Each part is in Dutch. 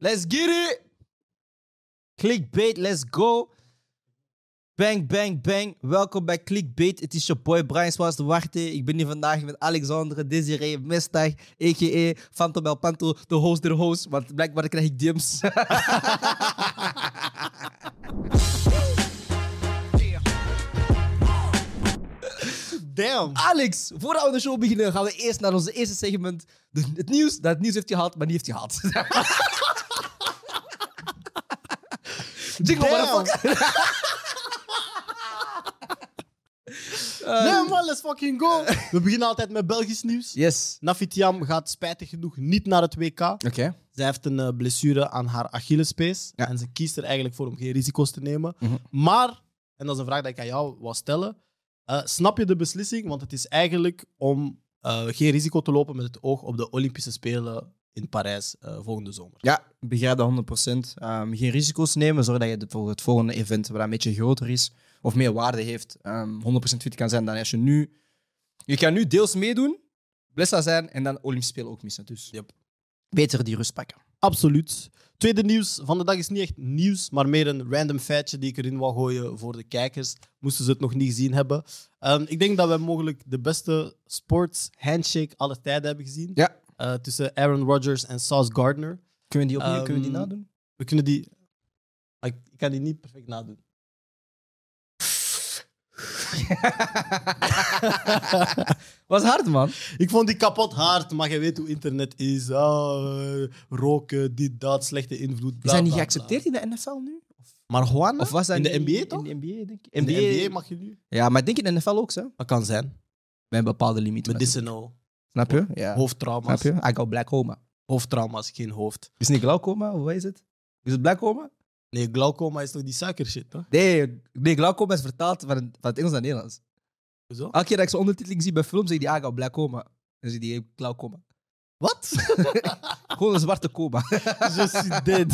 Let's get it! Clickbait, let's go! Bang, bang, bang. Welkom bij Clickbait. Het is je boy Brian Swaas de Warte. Ik ben hier vandaag met Alexandre, Desiree, Mestag, a.k.a. Phantom El Panto, de host der host. Want blijkbaar krijg ik DM's. Damn. Alex, voordat we de show beginnen, gaan we eerst naar onze eerste segment. De- het nieuws dat het nieuws heeft gehaald, maar niet heeft gehaald. Jingle, Damn. motherfucker. Eh, Nee man, let's fucking go. We beginnen altijd met Belgisch nieuws. Yes. Nafitiam gaat spijtig genoeg niet naar het WK. Oké. Zij heeft een eh, blessure aan haar Achillespees. Ja. En ze kiest er eigenlijk voor om geen risico's te nemen. Mhm. Maar, en dat is een vraag die ik aan jou wil stellen. eh, snap je de beslissing? Want het is eigenlijk om eh, geen risico te lopen met het oog op de Olympische Spelen in Parijs eh, volgende zomer. Ja, ik begrijp dat 100%. Ehm, geen risico's nemen, zorg dat je de- voor het volgende event, waar dat een beetje groter is of meer waarde heeft, ehm 100% fit kan zijn dan als je nu. Je kan nu deels meedoen, blessa zijn en dan Olympisch Spelen ook missen. Dus Yep. beter die rust pakken. Absoluut. Tweede nieuws van de dag is niet echt nieuws, maar meer een random feitje die ik erin wil gooien voor de kijkers. Moesten ze het nog niet gezien hebben. Ehm, ik denk dat we mogelijk de beste sports handshake alle tijden hebben gezien. Ja. Eh, tussen Aaron Rodgers en Sauce Gardner. Kunnen we die opnieuw kunnen we die Ehm, nadoen? We kunnen die... Ah, Ik ik kan die niet perfect nadoen. Was hard, man. Ik vond die kapot hard, maar je weet hoe internet is. Ah, eh, roken, dit, dat, slechte invloed. Is bla, dat niet bla, geaccepteerd in de NFL nu? bla. Maar Juan, Of was dat in de niet- NBA toch? In de NBA, denk ik. In de NBA NBA mag je nu. Ja, maar ik denk in de NFL ook, hè? Dat kan zijn. Bij een bepaalde limiet. Medicinal, Snap je? Ja. Snap hoofdtrauma's. je? I got black coma. Hoofdtrauma's, geen hoofd. Is het niet glaucoma? Of wat is het? Is het black coma? Nee, glaucoma is toch die suikershit, toch? Nee, nee glaucoma is vertaald van, van het Engels naar het Nederlands. Hoezo? Elke keer dat ik zo'n ondertiteling zie bij films, zeg ik die I got black coma. Dan zie ik die glaucoma. Wat? Gewoon een zwarte coma. Je suis dead.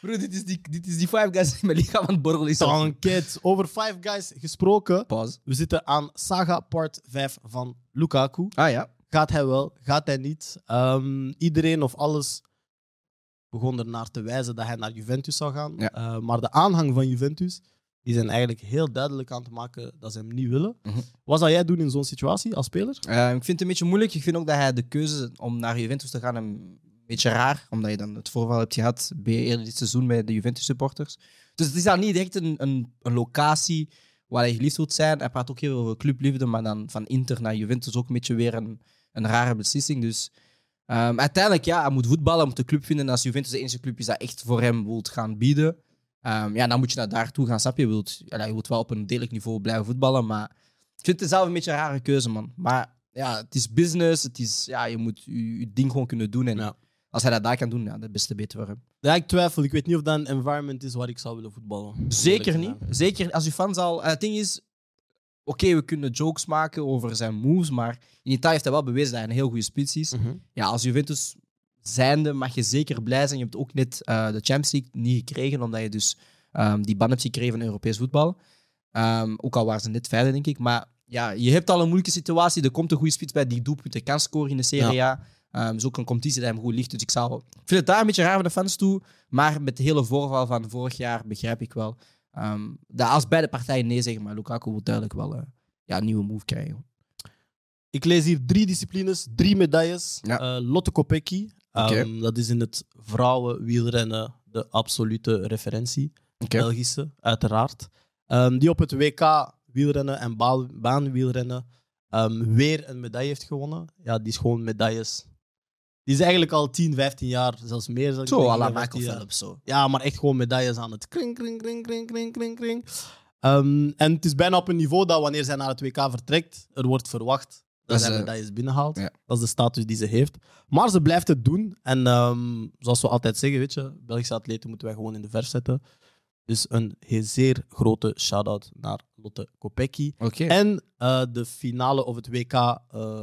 Bro, dit is die, dit is die five guys in mijn lichaam aan het borrelen is. Tanket. Over Five Guys gesproken. Pause. We zitten aan Saga Part 5 van Lukaku. Ah ja. Gaat hij wel? Gaat hij niet? Ehm, iedereen of alles begon ernaar te wijzen dat hij naar Juventus zou gaan. Ja. Eh, maar de aanhang van Juventus, die zijn eigenlijk heel duidelijk aan te maken dat ze hem niet willen. Mhm. Wat zou jij doen in zo'n situatie als speler? Eh, ik vind het een beetje moeilijk. Ik vind ook dat hij de keuze om naar Juventus te gaan een beetje raar, omdat je dan het voorval hebt gehad bij eerder dit seizoen bij de Juventus supporters. Dus het is dan niet echt een, een, een locatie waar hij geliefd wilt zijn. Hij praat ook heel veel over clubliefde, maar dan van Inter naar Juventus ook een beetje weer een, een rare beslissing. Dus ehm, uiteindelijk, ja, hij moet voetballen, hij moet de club vinden. En als Juventus de enige club is dat echt voor hem wilt gaan bieden, ehm, ja, dan moet je naar daartoe gaan. Snap je? Je wilt, ja, je wilt wel op een degelijk niveau blijven voetballen, maar ik vind het zelf een beetje een rare keuze, man. Maar ja, het is business. Het is, ja, je moet je, je ding gewoon kunnen doen. En Ja. als hij dat daar kan doen, ja, dat is te beter voor hem. Ja, ik twijfel. Ik weet niet of dat een environment is waar ik zou willen voetballen. Zeker Eerlijk niet. gezegd. Zeker als je fans al... eh, het ding is, oké, we kunnen jokes maken over zijn moves, maar in Italië heeft hij wel bewezen dat hij een heel goede spits is. Mhm. Ja, als Juventus zijnde mag je zeker blij zijn. Je hebt ook net eh, de Champions League niet gekregen, omdat je dus ehm, die ban hebt gekregen van Europees voetbal. Ehm, ook al waren ze net verder, denk ik. Maar ja, je hebt al een moeilijke situatie. Er komt een goede spits bij die doelpunten kan scoren in de Serie A. Ehm, is ook een competitie die hem goed ligt. Dus ik, zou, ik vind het daar een beetje raar van de fans toe. Maar met de hele voorval van vorig jaar begrijp ik wel. ehm, dat als beide partijen nee zeggen, maar Lukaku wil duidelijk wel eh, ja, een nieuwe move krijgen. Ik lees hier drie disciplines, drie medailles. Ja. Eh, Lotte Kopecky, ehm, Oké. dat is in het vrouwenwielrennen de absolute referentie. Oké. Belgische, uiteraard. Ehm, die op het WK wielrennen en baan- baanwielrennen ehm, weer een medaille heeft gewonnen. Ja, die is gewoon medailles. Die is eigenlijk al 10, 15 jaar, zelfs meer. zal ik Zo, denken, à la 15 Michael jaar. Phelps. Zo. Ja, maar echt gewoon medailles aan het kring, kring, kring, kring, kring, kring, kring. Ehm, en het is bijna op een niveau dat wanneer zij naar het WK vertrekt, er wordt verwacht Dat dat ze- zij medailles binnenhaalt. Ja. Dat is de status die ze heeft. Maar ze blijft het doen. En ehm, zoals we altijd zeggen, weet je, Belgische atleten moeten wij gewoon in de verf zetten. Dus een heel zeer grote shout-out naar Lotte Kopecky. Oké. En eh, de finale of het WK eh,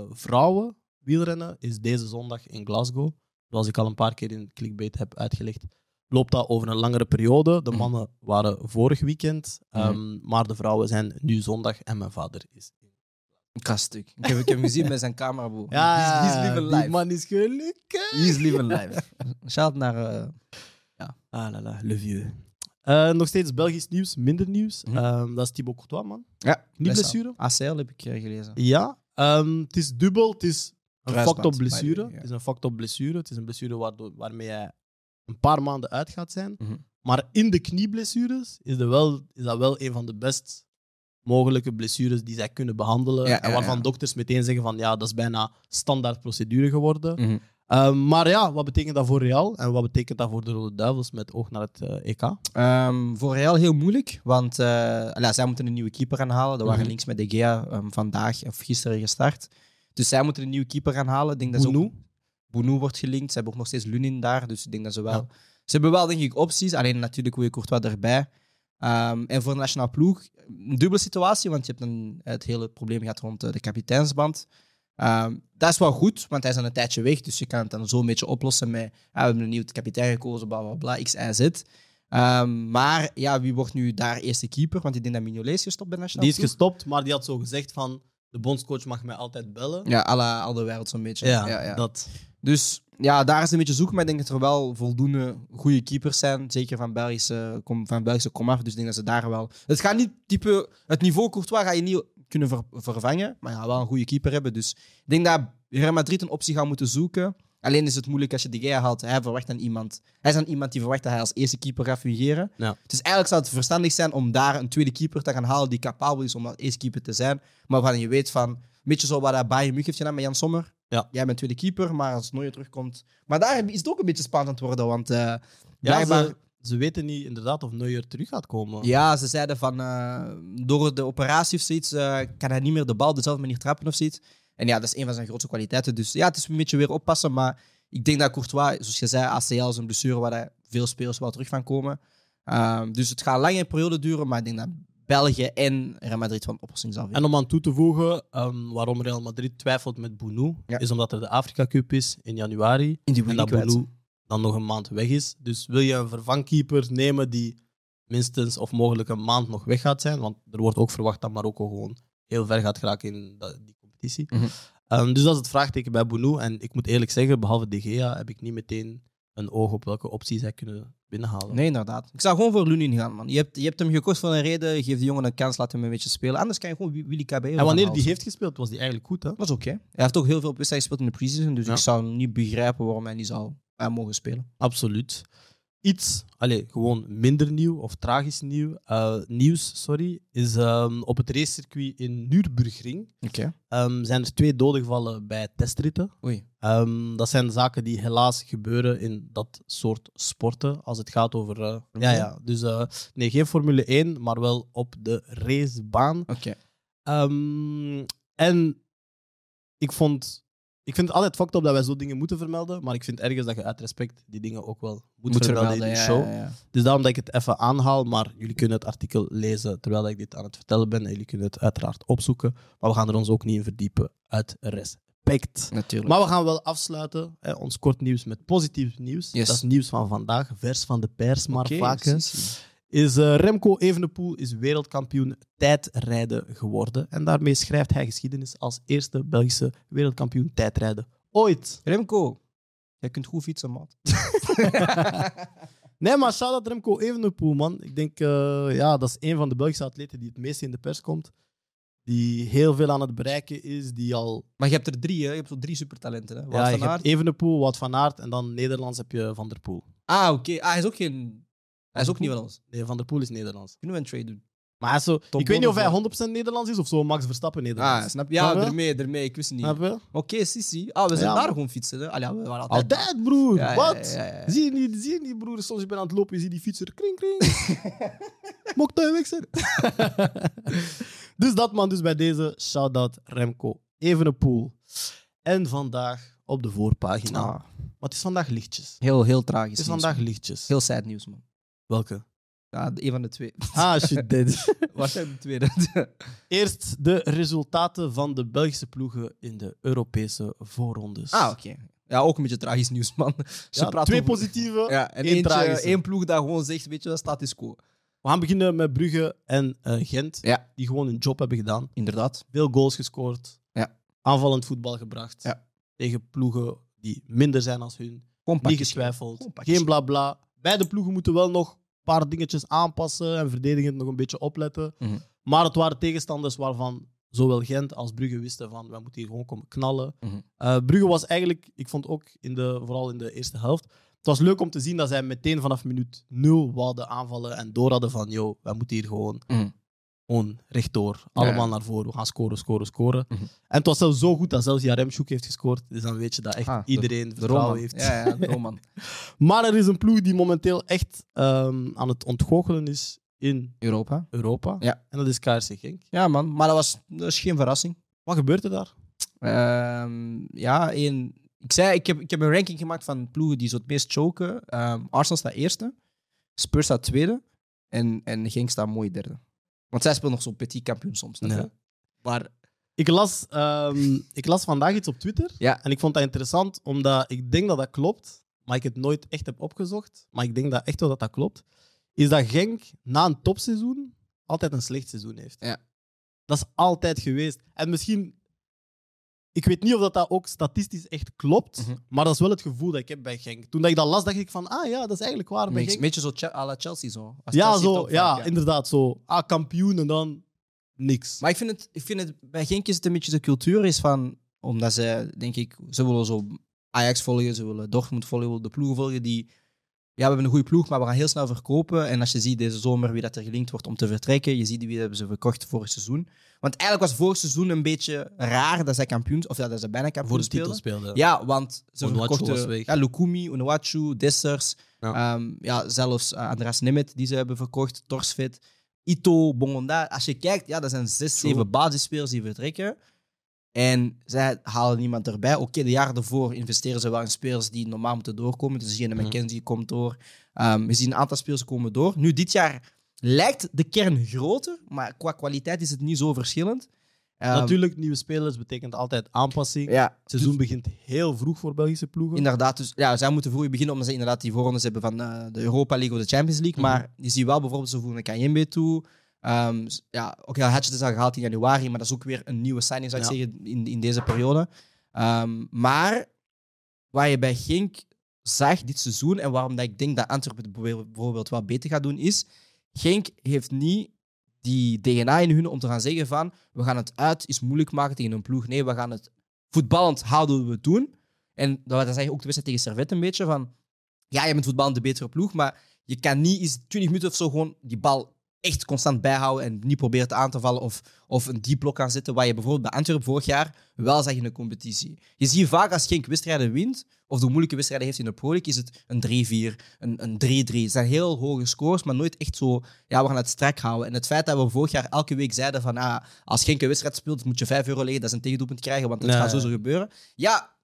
vrouwen wielrennen is deze zondag in Glasgow. Zoals ik al een paar keer in clickbait heb uitgelegd, loopt dat over een langere periode. De Mhm. mannen Mhm. waren vorig weekend, ehm, maar de vrouwen zijn nu zondag en mijn vader is. Kastuk. Ik heb, ik heb hem gezien met zijn camera, bro. Ja, die is, die is liever die live. man is gelukkig. Die is liever live. Shout naar... eh, Ah la la, le vieux. Eh, nog steeds Belgisch nieuws, minder nieuws. Mhm. Ehm, dat is Thibaut Courtois, man. ja, Niet best blessure? aan. ACL heb ik eh, gelezen. Ja, ehm, het is dubbel. Het is een Kruisband, by fucked-up the blessure. way, ja. Het is een fucked-up blessure. Het is een blessure waardoor, waarmee hij een paar maanden uit gaat zijn. Mhm. Maar in de knieblessures is, dat wel, is dat wel een van de best mogelijke blessures die zij kunnen behandelen. Ja, en ja, waarvan ja. dokters meteen zeggen van ja, dat is bijna standaard procedure geworden. Mhm. Ehm, maar ja, wat betekent dat voor Real? En wat betekent dat voor de Rode Duivels met oog naar het eh, EK? Ehm, voor Real heel moeilijk, want eh, nou, zij moeten een nieuwe keeper gaan halen. Er waren Mhm. links met De Gea ehm, vandaag of gisteren gestart. Dus zij moeten een nieuwe keeper gaan halen. Ik denk dat ze ook- Bounou? Bounou wordt gelinkt. Ze hebben ook nog steeds Lunin daar, dus ik denk dat ze wel... Ja. Ze hebben wel, denk ik, opties. Alleen natuurlijk hoe je Courtois erbij. Ehm, en voor de nationale ploeg, een dubbele situatie, want je hebt dan het hele probleem gehad rond eh, de kapiteinsband. Ehm, dat is wel goed, want hij is al een tijdje weg, dus je kan het dan zo een beetje oplossen met ah, we hebben een nieuw kapitein gekozen, bla bla bla, x, y, z. Ehm, maar ja, wie wordt nu daar eerste keeper? Want ik denk dat Mignolet is gestopt bij de Die nationale is gestopt, maar die had zo gezegd van de bondscoach mag mij altijd bellen. ploeg. Ja, à la al de wereld zo'n beetje. dat. Dus ja, daar is een beetje zoeken, maar ik denk dat er wel voldoende goede keepers zijn. Zeker van Belgische, kom, van Belgische komaf. Dus ik denk dat ze daar wel. Het gaat niet type. Het niveau Courtois ga je niet kunnen ver- vervangen, maar ja, wel een goede keeper hebben. Dus ik denk dat Real Madrid een optie gaat moeten zoeken. Alleen is het moeilijk als je De Gea haalt. Hij verwacht aan iemand. Hij is aan iemand die verwacht dat hij als eerste keeper gaat fungeren. Ja. Dus eigenlijk zou het verstandig zijn om daar een tweede keeper te gaan halen die capabel is om als eerste keeper te zijn. Maar waarvan je weet van, een beetje zo wat dat Bayern München heeft gedaan met Jan Sommer. Ja. Jij bent tweede keeper, maar als Neuer terugkomt... Maar daar is het ook een beetje spannend aan het worden, want eh, Ja, blijkbaar... ze, ze weten niet inderdaad of Neuer terug gaat komen. Ja, ze zeiden van eh, door de operatie of zoiets eh, kan hij niet meer de bal op dezelfde manier trappen of zoiets. En ja, dat is een van zijn grootste kwaliteiten. Dus ja, het is een beetje weer oppassen. Maar ik denk dat Courtois, zoals je zei, ACL is een blessure waar hij veel spelers wel terug van komen. Ehm, dus het gaat een lange periode duren, maar ik denk dat België en Real Madrid wel een oplossing zal vinden. En om aan toe te voegen ehm, waarom Real Madrid twijfelt met Bounou, Ja. is omdat er de Afrika Cup is in januari. In die En dat Bounou dan nog een maand weg is. Dus wil je een vervangkeeper nemen die minstens of mogelijk een maand nog weg gaat zijn, want er wordt ook verwacht dat Marokko gewoon heel ver gaat geraken in dat- die competitie. Mhm. Ehm, dus dat is het vraagteken bij Bounou. En ik moet eerlijk zeggen, behalve De Gea heb ik niet meteen een oog op welke opties hij kunnen binnenhalen. Nee, inderdaad. Ik zou gewoon voor Lunin gaan, man. Je hebt, je hebt hem gekocht voor een reden. Geef de jongen een kans, laat hem een beetje spelen. Anders kan je gewoon Wi- Willy Cabello En wanneer gaan die halen. heeft gespeeld, was die eigenlijk goed, hè? Dat is oké. Hij heeft ook heel veel wedstrijden gespeeld in de preseason, dus Ja. ik zou niet begrijpen waarom hij niet zou eh, mogen spelen. Absoluut. Iets, allez, gewoon minder nieuw of tragisch nieuw, eh, nieuws, sorry, is ehm, op het racecircuit in Nürburgring Oké. ehm, zijn er twee doden gevallen bij testritten. Oei. Ehm, dat zijn zaken die helaas gebeuren in dat soort sporten, als het gaat over... eh, ja, Oké. ja, dus eh, nee, geen Formule 1, maar wel op de racebaan. Oké. Ehm, en ik vond. Ik vind het altijd fucked op dat wij zo dingen moeten vermelden. Maar ik vind ergens dat je uit respect die dingen ook wel moet, vermelden in de ja, show. ja, ja. Dus daarom dat ik het even aanhaal. Maar jullie kunnen het artikel lezen terwijl ik dit aan het vertellen ben. En jullie kunnen het uiteraard opzoeken. Maar we gaan er ons ook niet in verdiepen. Uit respect. Natuurlijk. Maar we gaan wel afsluiten. Hè, ons kort nieuws met positief nieuws. Yes. Dat is nieuws van vandaag. Vers van de pers, maar Oké, vaak. hè precies. is eh, Remco Evenepoel is wereldkampioen tijdrijden geworden. En daarmee schrijft hij geschiedenis als eerste Belgische wereldkampioen tijdrijden ooit. Remco, jij kunt goed fietsen, man. Nee, maar shout-out Remco Evenepoel, man. Ik denk, eh, ja, dat is een van de Belgische atleten die het meest in de pers komt. Die heel veel aan het bereiken is. Die al... Maar je hebt er drie, hè? Je hebt zo drie supertalenten, hè? Wout Ja, je van Aert. hebt Evenepoel, Wout van Aert en dan Nederlands heb je Van der Poel. Ah, oké. Ah, hij is ook geen... Hij is ook niet van ons. Nee, Van der Poel is Nederlands. Kunnen we een trade doen? Maar hij is zo... ik weet niet Bonne of hij voor- 100% Nederlands is of zo Max Verstappen Nederlands. Ah, snap je? Ja, Snap je? ermee, ermee. Ik wist het niet. Snap Oké, je? Sissi. Ah, we zijn Ja, daar man. gewoon fietsen, hè? Allee, ja, we waren altijd... Altijd, broer. Ja, ja, Wat? ja, ja, ja. Zie je niet, zie je niet, broer? Soms ik ben aan het lopen, je ziet die fietser. Kring, kring. Mocht dat je weg zijn. dus dat, man. Dus bij deze shout-out Remco Evenepoel. En vandaag op de voorpagina. Ah, Maar het is vandaag lichtjes. heel, heel tragisch. Het is nieuws, vandaag man. lichtjes. Heel sad nieuws, man. Welke? Ja, een van de twee. Ah, shit, dit. Waarschijnlijk de tweede. Eerst de resultaten van de Belgische ploegen in de Europese voorrondes. Ah, oké. Ja, ook een beetje tragisch nieuws, man. Ze Ja, praten twee over- positieve. Ja, en één eentje, tragische. één ploeg dat gewoon zegt, weet je, dat status quo. We gaan beginnen met Brugge en eh, Gent, Ja. die gewoon hun job hebben gedaan. Inderdaad. Veel goals gescoord, Ja. aanvallend voetbal gebracht Ja. tegen ploegen die minder zijn als hun. Gewoon Niet pakjes. getwijfeld. Gewoon pakjes. Geen blabla. Beide ploegen moeten wel nog een paar dingetjes aanpassen en verdedigend nog een beetje opletten. Mhm. Maar het waren tegenstanders waarvan zowel Gent als Brugge wisten van wij moeten hier gewoon komen knallen. Mhm. Eh, Brugge was eigenlijk, ik vond ook in de, vooral in de eerste helft, het was leuk om te zien dat zij meteen vanaf minuut nul wilden aanvallen en door hadden van yo, wij moeten hier gewoon, Mhm. gewoon rechtdoor. Allemaal Ja. naar voren, we gaan scoren, scoren, scoren. Mhm. En het was zelfs zo goed dat zelfs Jaremchuk heeft gescoord. Dus dan weet je dat echt Ah, de- iedereen De vertrouwen Roman. heeft. Ja, ja, de Roman. Maar er is een ploeg die momenteel echt ehm, aan het ontgoochelen is in Europa. Europa. Ja. En dat is KRC Genk. Ja, man. Maar dat, was, dat is geen verrassing. Wat gebeurt er daar? Ehm, ja, één. Ik zei, ik heb, ik heb een ranking gemaakt van ploegen die zo het meest choken. Ehm, Arsenal staat eerste, Spurs staat tweede en, en Genk staat mooi derde. Want zij spelen nog zo'n petit kampioen soms. snap je? Ja. Maar Ik las, ehm, ik las vandaag iets op Twitter. Ja. En ik vond dat interessant, omdat ik denk dat dat klopt. Maar ik het nooit echt heb opgezocht. Maar ik denk dat echt wel dat dat klopt. Is dat Genk na een topseizoen altijd een slecht seizoen heeft. Ja. Dat is altijd geweest. En misschien... Ik weet niet of dat, dat ook statistisch echt klopt. Mhm. Maar dat is wel het gevoel dat ik heb bij Genk. Toen dat ik dat las, dacht ik van... Ah ja, dat is eigenlijk waar bij een beetje- Genk. beetje zo Che- à la Chelsea zo. Als Ja, Chelsea zo, top ja, vaak, inderdaad. Zo, ah, kampioen en dan niks. Maar ik vind, het, ik vind het bij Genk is het een beetje de cultuur is van, omdat ze, denk ik, ze willen zo Ajax volgen, ze willen Dortmund volgen, ze willen de ploegen volgen die, ja, we hebben een goede ploeg, maar we gaan heel snel verkopen. En als je ziet deze zomer wie dat er gelinkt wordt om te vertrekken, je ziet wie hebben ze verkocht vorig seizoen. Want eigenlijk was vorig seizoen een beetje raar dat zij kampioens, of ja, dat ze bijna kampioen voor de speelden. titel speelde. Ja, want ze Onuachu was verkochten weg. ja, Lukumi, Onuachu, Dessers. Ja. Ja. ja, zelfs eh, Andras Nemet die ze hebben verkocht, Torsfit, Ito, Bongonda. Als je kijkt, ja, dat zijn zes, True. zeven basisspelers die vertrekken. En zij halen niemand erbij. Oké, de jaren daarvoor investeren ze wel in spelers die normaal moeten doorkomen. Dus Gene Mhm. McKenzie komt door. Ehm, we zien een aantal spelers komen door. Nu, dit jaar lijkt de kern groter, maar qua kwaliteit is het niet zo verschillend. Ehm, Natuurlijk, nieuwe spelers betekent altijd aanpassing. Ja, dus Het seizoen begint heel vroeg voor Belgische ploegen. Inderdaad, dus ja, zij moeten vroeg beginnen omdat ze inderdaad die voorrondes hebben van eh, de Europa League of de Champions League. Mhm. Maar je ziet wel bijvoorbeeld, ze voegen een Kanyembe toe. Ehm, s- ja, oké, had je het al gehaald in januari, maar dat is ook weer een nieuwe signing, zou ik Ja. zeggen, in, in deze periode. Ehm, maar waar je bij Genk zag dit seizoen en waarom dat ik denk dat Antwerpen het bijvoorbeeld- bijvoorbeeld wel beter gaat doen, is Genk heeft niet die DNA in hun om te gaan zeggen van we gaan het uit, is moeilijk maken tegen een ploeg. Nee, we gaan het voetballend houden we het doen. En dat, dat zeg je ook de wedstrijd tegen Servet een beetje van ja, je bent voetballend de betere ploeg, maar je kan niet eens 20 minuten of zo gewoon die bal echt constant bijhouden en niet proberen te aan te vallen of, of een diep blok aan zetten, waar je bijvoorbeeld bij Antwerpen vorig jaar wel zag in de competitie. Je ziet vaak als Genk wedstrijden wint, of de moeilijke wedstrijden heeft in de Pro League, is het een 3-4, een, een 3-3. Het zijn heel hoge scores, maar nooit echt zo, ja, we gaan het strak houden. En het feit dat we vorig jaar elke week zeiden van, ah, als Genk een wedstrijd speelt, moet je 5 euro leggen, dat is een tegendoelpunt krijgen, want het Nee. gaat sowieso gebeuren. Ja,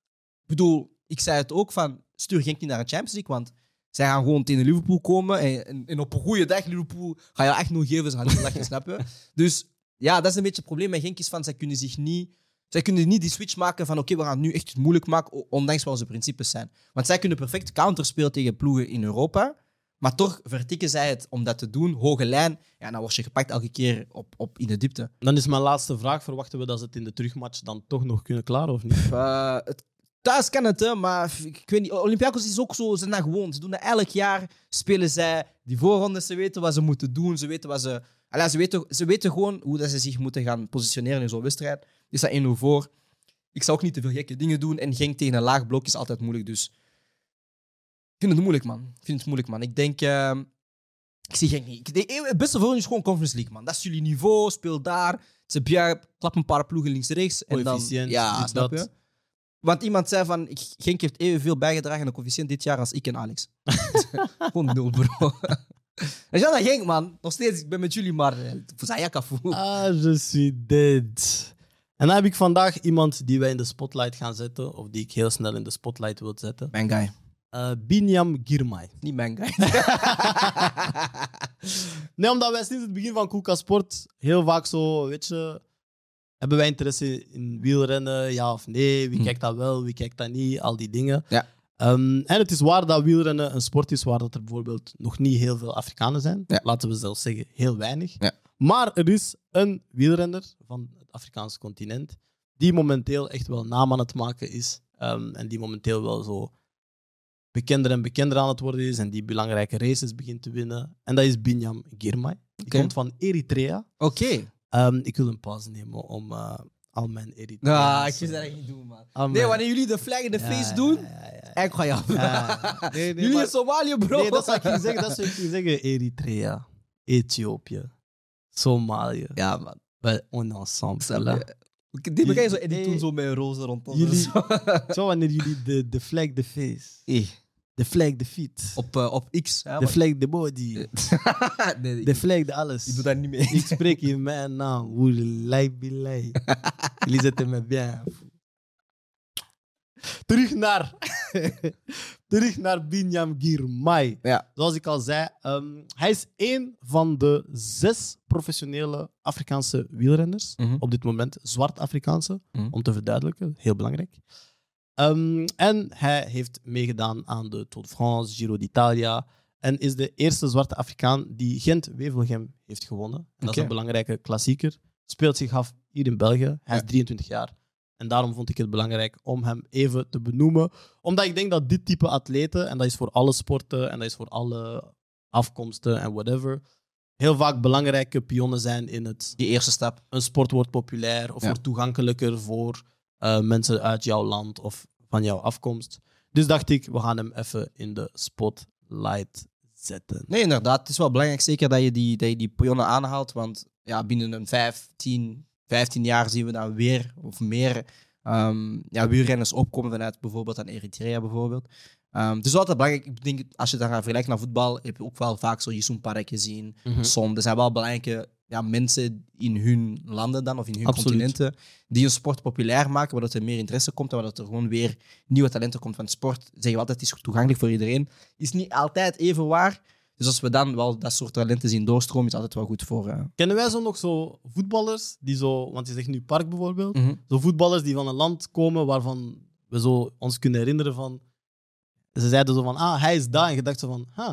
ik bedoel, ik zei het ook van, stuur Genk niet naar een Champions League, want zij gaan gewoon tegen Liverpool komen en, en, en op een goede dag Liverpool ga je echt nog geven, ze gaan niet lachen, snap je? Dus ja, dat is een beetje het probleem met Genk is van, zij kunnen zich niet... Zij kunnen niet die switch maken van oké, we gaan het nu echt het moeilijk maken, o- ondanks wat onze principes zijn. Want zij kunnen perfect counterspelen tegen ploegen in Europa, maar toch vertikken zij het om dat te doen, hoge lijn. Ja, dan word je gepakt elke keer op, op in de diepte. Dan is mijn laatste vraag. Verwachten we dat ze het in de terugmatch dan toch nog kunnen klaren of niet? Eh, het, thuis kan het, hè, maar f- ik weet niet. Olympiakos is ook zo, ze zijn daar gewoon. Ze doen dat elk jaar. Spelen zij die voorrondes, ze weten wat ze moeten doen. Ze weten, wat ze, Allee, ze weten, ze weten gewoon hoe dat ze zich moeten gaan positioneren in zo'n wedstrijd. Is dat 1-0 voor? Ik zou ook niet te veel gekke dingen doen. En Genk tegen een laag blok is altijd moeilijk, dus... Ik vind het moeilijk, man. Ik vind het moeilijk, man. Ik denk... ehm, ik zie Genk niet. Ik denk, eh, het beste voor hen is gewoon Conference League, man. Dat is jullie niveau, speel daar. Ze bia- klap een paar ploegen links-rechts. En dan, Coëfficiënt, ja, dit, snap dat. je? Want iemand zei van, ik- Genk heeft evenveel bijgedragen aan de coëfficiënt dit jaar als ik en Alex. Gewoon nul, bro. En ja, dat Genk, man. Nog steeds, ik ben met jullie, maar... eh, Zayakafu. Ah, je suis dead. En dan heb ik vandaag iemand die wij in de spotlight gaan zetten, of die ik heel snel in de spotlight wil zetten. Mijn guy. Eh Binyam Girmay. Niet mijn guy. Nee, omdat wij sinds het begin van Koeka Sport heel vaak zo, weet je, hebben wij interesse in wielrennen, ja of nee, wie Hm. kijkt dat wel, wie kijkt dat niet, al die dingen. Ja. Ehm, en het is waar dat wielrennen een sport is waar dat er bijvoorbeeld nog niet heel veel Afrikanen zijn. Ja. Laten we zelfs zeggen, heel weinig. Ja. Maar er is een wielrenner van het Afrikaanse continent die momenteel echt wel naam aan het maken is. ehm, en die momenteel wel zo bekender en bekender aan het worden is. En die belangrijke races begint te winnen. En dat is Binyam Girmay. Die Oké. komt van Eritrea. Oké. Ehm, ik wil een pauze nemen om eh, al mijn Eritreaanse... Nou, ik wist dat echt niet doen, man. al Nee, mijn- wanneer jullie de flag in de Ja, face ja, doen, eh, ja, ja, ja. ik ga je af. Ja. Nee, nee, jullie maar- in Somalië, bro. Nee, dat zou ik niet zeggen. Dat zou ik niet zeggen. Eritrea, Ethiopië, Somalië. Ja, man. We on ensemble. Snap je? hè. Ik- Die begrijp je zo, en Nee. die toen zo met een roze rondom. Jullie- Zo wanneer jullie de, de flag de face, de flag de feet, Op, eh, op X. hè, de man. flag de body, nee, nee, de ik- flag de alles. ik doe daar niet mee. Ik spreek in mijn naam. Hoe lijkt belij. Jullie zetten me bien. Terug naar, terug naar Binyam Girmay. Ja. Zoals ik al zei, ehm, hij is één van de zes professionele Afrikaanse wielrenners. Mhm. Op dit moment zwart-Afrikaanse, Mhm. om te verduidelijken. Heel belangrijk. Ehm, en hij heeft meegedaan aan de Tour de France, Giro d'Italia. En is de eerste zwarte Afrikaan die Gent-Wevelgem heeft gewonnen. En dat is Oké. een belangrijke klassieker. Speelt zich af hier in België. Hij Ja. is 23 jaar. En daarom vond ik het belangrijk om hem even te benoemen. Omdat ik denk dat dit type atleten, en dat is voor alle sporten en dat is voor alle afkomsten en whatever, heel vaak belangrijke pionnen zijn in het Die eerste stap. een sport wordt populair of Ja. wordt toegankelijker voor eh, mensen uit jouw land of van jouw afkomst. Dus dacht ik, we gaan hem even in de spotlight zetten. Nee, inderdaad. Het is wel belangrijk zeker dat je die, dat je die pionnen aanhaalt. Want ja, binnen een 5, 10, 15 jaar zien we dan weer of meer ehm ja, wielrenners opkomen vanuit bijvoorbeeld aan Eritrea bijvoorbeeld. Ehm het is wel altijd belangrijk. Ik denk, als je het dan gaat vergelijken naar voetbal, heb je ook wel vaak zo Yusuf Parek gezien. Hm. Som. Er zijn wel belangrijke ja, mensen in hun landen dan, of in hun Absoluut. continenten, die een sport populair maken, waardoor er meer interesse komt en waardoor er gewoon weer nieuwe talenten komt van sport. Zeggen we altijd, het is toegankelijk voor iedereen. Is niet altijd even waar. Dus als we dan wel dat soort talenten zien doorstromen, is altijd wel goed voor... eh, Kennen wij zo nog zo voetballers die zo, want je zegt nu Park bijvoorbeeld, mhm. zo voetballers die van een land komen waarvan we zo ons kunnen herinneren van, ze zeiden zo van, ah, hij is daar. En je dacht zo van, ha,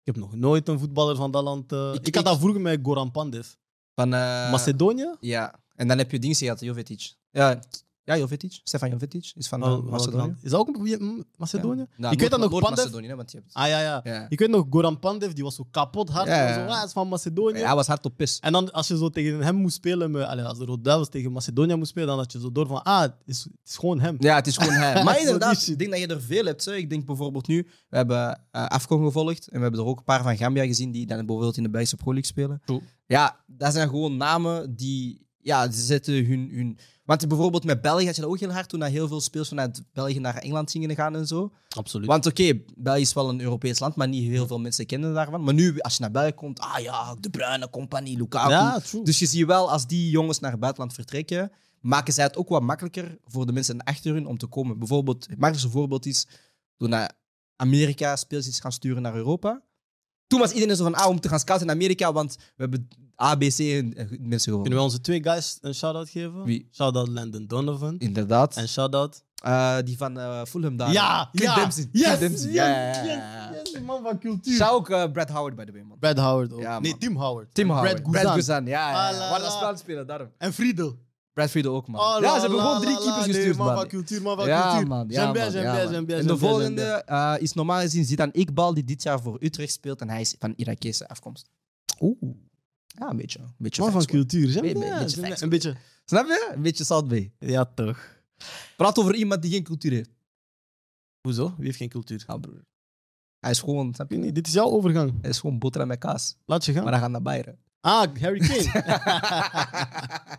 ik heb nog nooit een voetballer van dat land. eh, Ik- ik, had ik- dat vroeger met Goran Pandev. Van, eh, Macedonië? Ja. En dan heb je dingen gehad, Jovetic. Ja, ja Jovetic. Stefan Jovetic is van eh, Oh, Macedonië. Is dat ook een- hm, Macedonië? Ja. Nou, ik weet dat Noord- nog Pandev. Noord-Macedonië, hè, want je hebt... Ah ja, ja. Ja. Ik weet nog Goran Pandev, die was zo kapot hard. Ja, ja. Zo, ah, hij is van Macedonië. Hij was hard op pis. En dan als je zo tegen hem moest spelen, met, allee, als de Rode Duivels tegen Macedonië moest spelen, dan had je zo door van, ah, het is, het is gewoon hem. Ja, het is gewoon hij. Maar Zo inderdaad, die ik denk dat je er veel hebt. Hè. Ik denk bijvoorbeeld nu, we hebben eh Afcon gevolgd en we hebben er ook een paar van Gambia gezien die dan bijvoorbeeld in de Belgische Pro League spelen. True. Ja, dat zijn gewoon namen die, ja, ze zetten hun, hun... Want bijvoorbeeld met België had je dat ook heel hard toen dat heel veel speels vanuit België naar Engeland gingen gaan en zo. Absoluut. Want oké, België is wel een Europees land, maar niet heel veel mensen kennen daarvan. Maar nu, als je naar België komt, ah ja, De Bruyne, Compagnie, Lukaku. ja, true. Dus je ziet wel, als die jongens naar het buitenland vertrekken, maken zij het ook wat makkelijker voor de mensen achter hun om te komen. Bijvoorbeeld, het makkelijkste voorbeeld is toen eh, Amerika speels is gaan sturen naar Europa. Toen was iedereen zo van, ah, om te gaan scouten in Amerika, want we hebben ABC en eh, mensen gewonnen. Kunnen we onze twee guys een shout-out geven? Wie? Shout-out Landon Donovan. Inderdaad. En shout-out... Eh, die van eh, Fulham daar. Ja, Cliff ja. Dempsey. Yes, Cliff Dempsey. yes, Ja, ja, ja, ja. yes, yes, die man van cultuur. Zou ook eh, Brad Howard, by the way, man. Brad Howard ook. Ja, man. nee, Tim Howard. Tim En Howard. Brad Guzan. ja. ja, ja. Ah, la, Waar dat la. spel spelen, daarom. En Friedel. Brad Friedel ook, man. Oh, ja, la, ze hebben la, gewoon la, drie la, keepers nee, gestuurd, Man man. van cultuur, man van Ja, cultuur. man. Ja, J'aime bien, man, j'aime ja, bien, man. j'aime bien, En de j'aime bien, volgende j'aime eh, is normaal gezien Zidane Iqbal, die dit jaar voor Utrecht speelt. En hij is van Irakese afkomst. Oeh. Ja, een beetje. Een beetje Man van facts, man. cultuur. J'aime Een beetje bien, facts, j'aime bien. man. Een beetje... Snap je? Een beetje Salt Bay. Ja, toch. Praat over iemand die geen cultuur heeft. Hoezo? Wie heeft geen cultuur? Ja, broer. Hij is gewoon, snap je? Ah, Ik weet niet, dit is jouw overgang. Hij is gewoon boterham met kaas. Laat je gaan. Maar hij gaat naar Bayern. Ah, Harry Kane.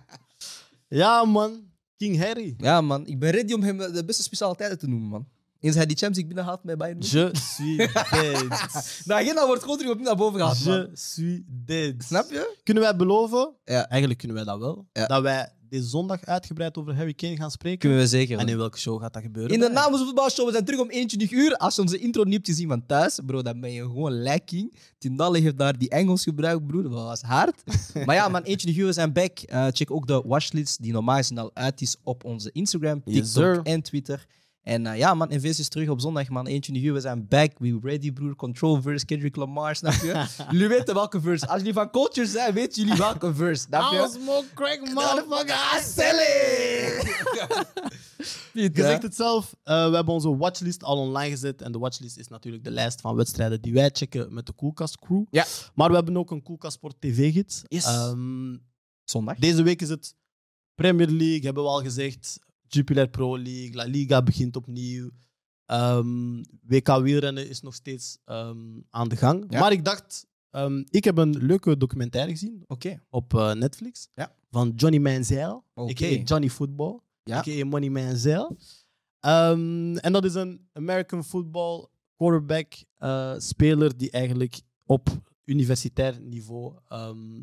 ja, man. King Harry. ja, man. Ik ben ready om hem eh, de beste specialiteiten te noemen, man. Eens hij die Champions League binnenhaalt met Bayern. München, Je suis dead. De agenda wordt gewoon terug opnieuw naar boven gehaald, man. Je suis dead. Snap je? Kunnen wij beloven? Ja. Eigenlijk kunnen wij dat wel. Ja. Dat wij deze zondag uitgebreid over Harry Kane gaan spreken. Kunnen we zeker. En in welke show gaat dat gebeuren? In de naam van de voetbalshow, we zijn terug om 21 uur. Als je onze intro niet hebt gezien van thuis, bro, dan ben je gewoon lekking. Tindalli heeft daar die Engels gebruikt, broer. Dat was hard. maar ja, man, 21 uur, we zijn back. Eh, check ook de watchlist die normaal gezien al uit is op onze Instagram, Yes, TikTok sir. en Twitter. En eh, ja, man, Invis is terug op zondag, man. 21 uur, we zijn back. We ready, broer. Control verse, Kendrick Lamar, snap je? jullie weten welke verse. Als jullie van culture zijn, weten jullie welke verse, snap je? smoke crack, Motherfucker, I sell it! Je zegt het zelf, eh, we hebben onze watchlist al online gezet. En de watchlist is natuurlijk de lijst van wedstrijden die wij checken met de Coolcast Crew. Ja. Maar we hebben ook een Coolcast Sport TV-gids. Yes. Zondag. Ehm, deze week is het Premier League, hebben we al gezegd. Jupiler Pro League, La Liga begint opnieuw. Ehm, WK wielrennen is nog steeds ehm, aan de gang. Ja. Maar ik dacht, ehm, ik heb een leuke documentaire gezien Oké. op eh, Netflix. Ja. Van Johnny Manziel. Oké. a.k.a. Johnny Football. Ja. a.k.a. Money Manziel. Ehm, en dat is een American football quarterback eh, speler die eigenlijk op universitair niveau ehm,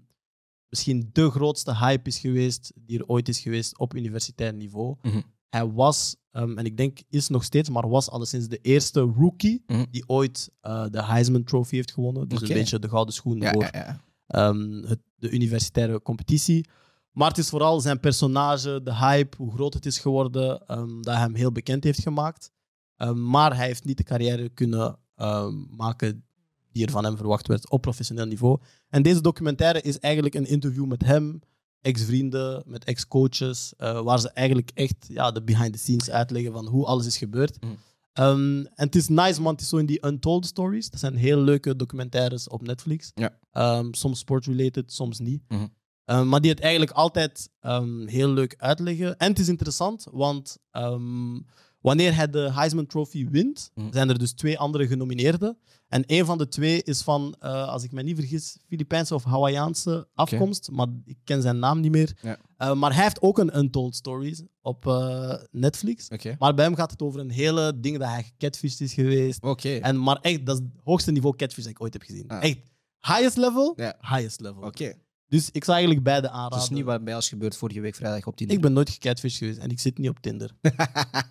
misschien de grootste hype is geweest die er ooit is geweest op universitair niveau. Mhm. Hij was, ehm, en ik denk is nog steeds, maar was alleszins de eerste rookie Mhm. die ooit eh, de Heisman Trophy heeft gewonnen. Dus Oké. een beetje de gouden schoen Ja, voor ja, ja. ehm, het, de universitaire competitie. Maar het is vooral zijn personage, de hype, hoe groot het is geworden, ehm, dat hem heel bekend heeft gemaakt. Ehm, maar hij heeft niet de carrière kunnen ehm, maken die er van hem verwacht werd op professioneel niveau. En deze documentaire is eigenlijk een interview met hem, ex-vrienden, met ex-coaches, eh, waar ze eigenlijk echt ja, de behind-the-scenes uitleggen van hoe alles is gebeurd. Mm. Ehm, en het is nice, man. Het is zo in die Untold Stories. Dat zijn heel leuke documentaires op Netflix. Ja. Ehm, soms sport-related, soms niet. Mhm. Ehm, maar die het eigenlijk altijd ehm, heel leuk uitleggen. En het is interessant, want ehm, wanneer hij de Heisman Trophy wint, Mhm. zijn er dus twee andere genomineerden. En een van de twee is van, eh, als ik me niet vergis, Filipijnse of Hawaïaanse afkomst. Maar ik ken zijn naam niet meer. Ja. Eh, maar hij heeft ook een Untold Stories op eh, Netflix. Oké. Maar bij hem gaat het over een hele ding dat hij gecatfished is geweest. Oké. En, maar echt, dat is het hoogste niveau catfish dat ik ooit heb gezien. Ah. Echt, highest level, Ja. highest level. Oké. Dus ik zou eigenlijk beide Dat aanraden. is Dus niet wat bij ons gebeurd vorige week vrijdag op die Ik ben nooit gecatfish geweest en ik zit niet op Tinder.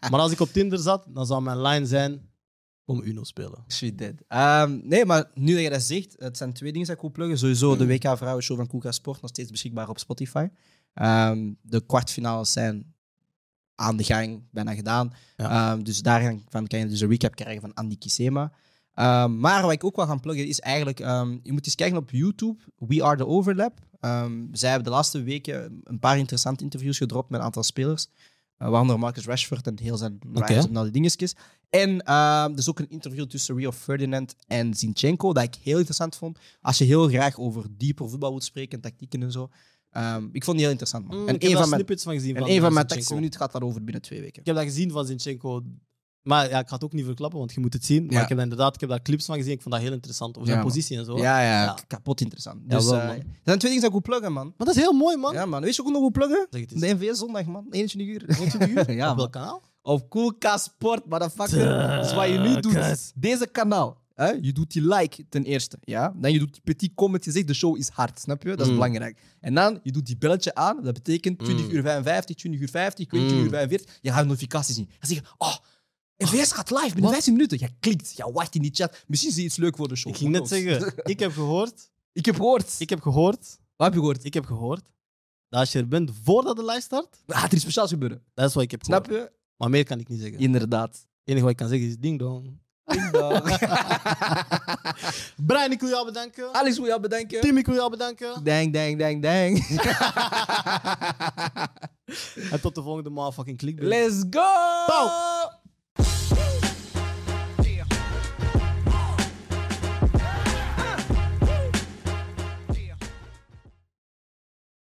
maar als ik op Tinder zat, dan zou mijn line zijn, kom Uno spelen. Sweet dead. Ehm, nee, maar nu dat je dat zegt, het zijn twee dingen die ik wil pluggen. Sowieso de WK Vrouwenshow van Koeka Sport, nog steeds beschikbaar op Spotify. Ehm, de kwartfinales zijn aan de gang, bijna gedaan. Ja. Ehm, dus daarvan kan je dus een recap krijgen van Andy Kisema. Ehm, maar wat ik ook wil gaan pluggen is eigenlijk, ehm, je moet eens kijken op YouTube, We Are The Overlap. Ehm, zij hebben de laatste weken een paar interessante interviews gedropt met een aantal spelers. eh, waaronder Marcus Rashford en heel zijn Oké. lijst en al die dingetjes. En ehm er is ook een interview tussen Rio Ferdinand en Zinchenko, dat ik heel interessant vond. Als je heel graag over dieper voetbal wilt spreken, tactieken en zo. Ehm, ik vond die heel interessant, man. Mm, en ik een heb daar van mijn, snippets van gezien. en van eh, een van mijn Zinchenko. teksten minuten gaat daarover binnen twee weken. Ik heb dat gezien van Zinchenko. Maar ja, ik ga het ook niet verklappen, want je moet het zien. Maar Ja. ik heb, dat inderdaad, ik heb daar clips van gezien. Ik vond dat heel interessant. Over zijn Ja, man. positie en zo. Ja, ja, Ja. k- kapot interessant. Ja, Dus, wel, eh, man. dat zijn twee dingen die ik wil pluggen, man. Maar dat is heel mooi, man. Ja, man. Weet je ook nog hoe pluggen? Zeg het eens. De NVS zondag, man. 21 uur. 21 uur? Ja, Op welk man. kanaal? Op Koelka Sport, motherfucker. Dat is wat je nu doet. Tukkes. Deze kanaal. Hè? Je doet die like ten eerste. Ja? Dan je doet die petit comment. Je zegt de show is hard. Snap je? Dat is Mm. belangrijk. En dan je doet die belletje aan. Dat betekent 20 Mm. uur 55, 20 uur 50, 20 Mm. uur 45. Je gaat notificaties zien. Dan zeg je, oh, NVS gaat live binnen Wat? 15 minuten. Je klikt. Je wacht in die chat. Misschien zie je iets leuk voor de show. Ik ging net Who zeggen, knows? ik heb gehoord, ik heb gehoord. ik heb gehoord, Wat heb je gehoord? ik heb gehoord dat als je er bent voordat de live start, Gaat Ah, er iets speciaals gebeuren? dat is wat ik heb gehoord. Snap je? Maar meer kan ik niet zeggen. Het Inderdaad. enige wat ik kan zeggen is ding dong. Brian, ik wil jou bedanken. Alex wil jou bedanken. Tim, ik wil jou bedanken. Dang, dang, dang, dang. En tot de volgende maal fucking clickbait. Let's go! Pauw.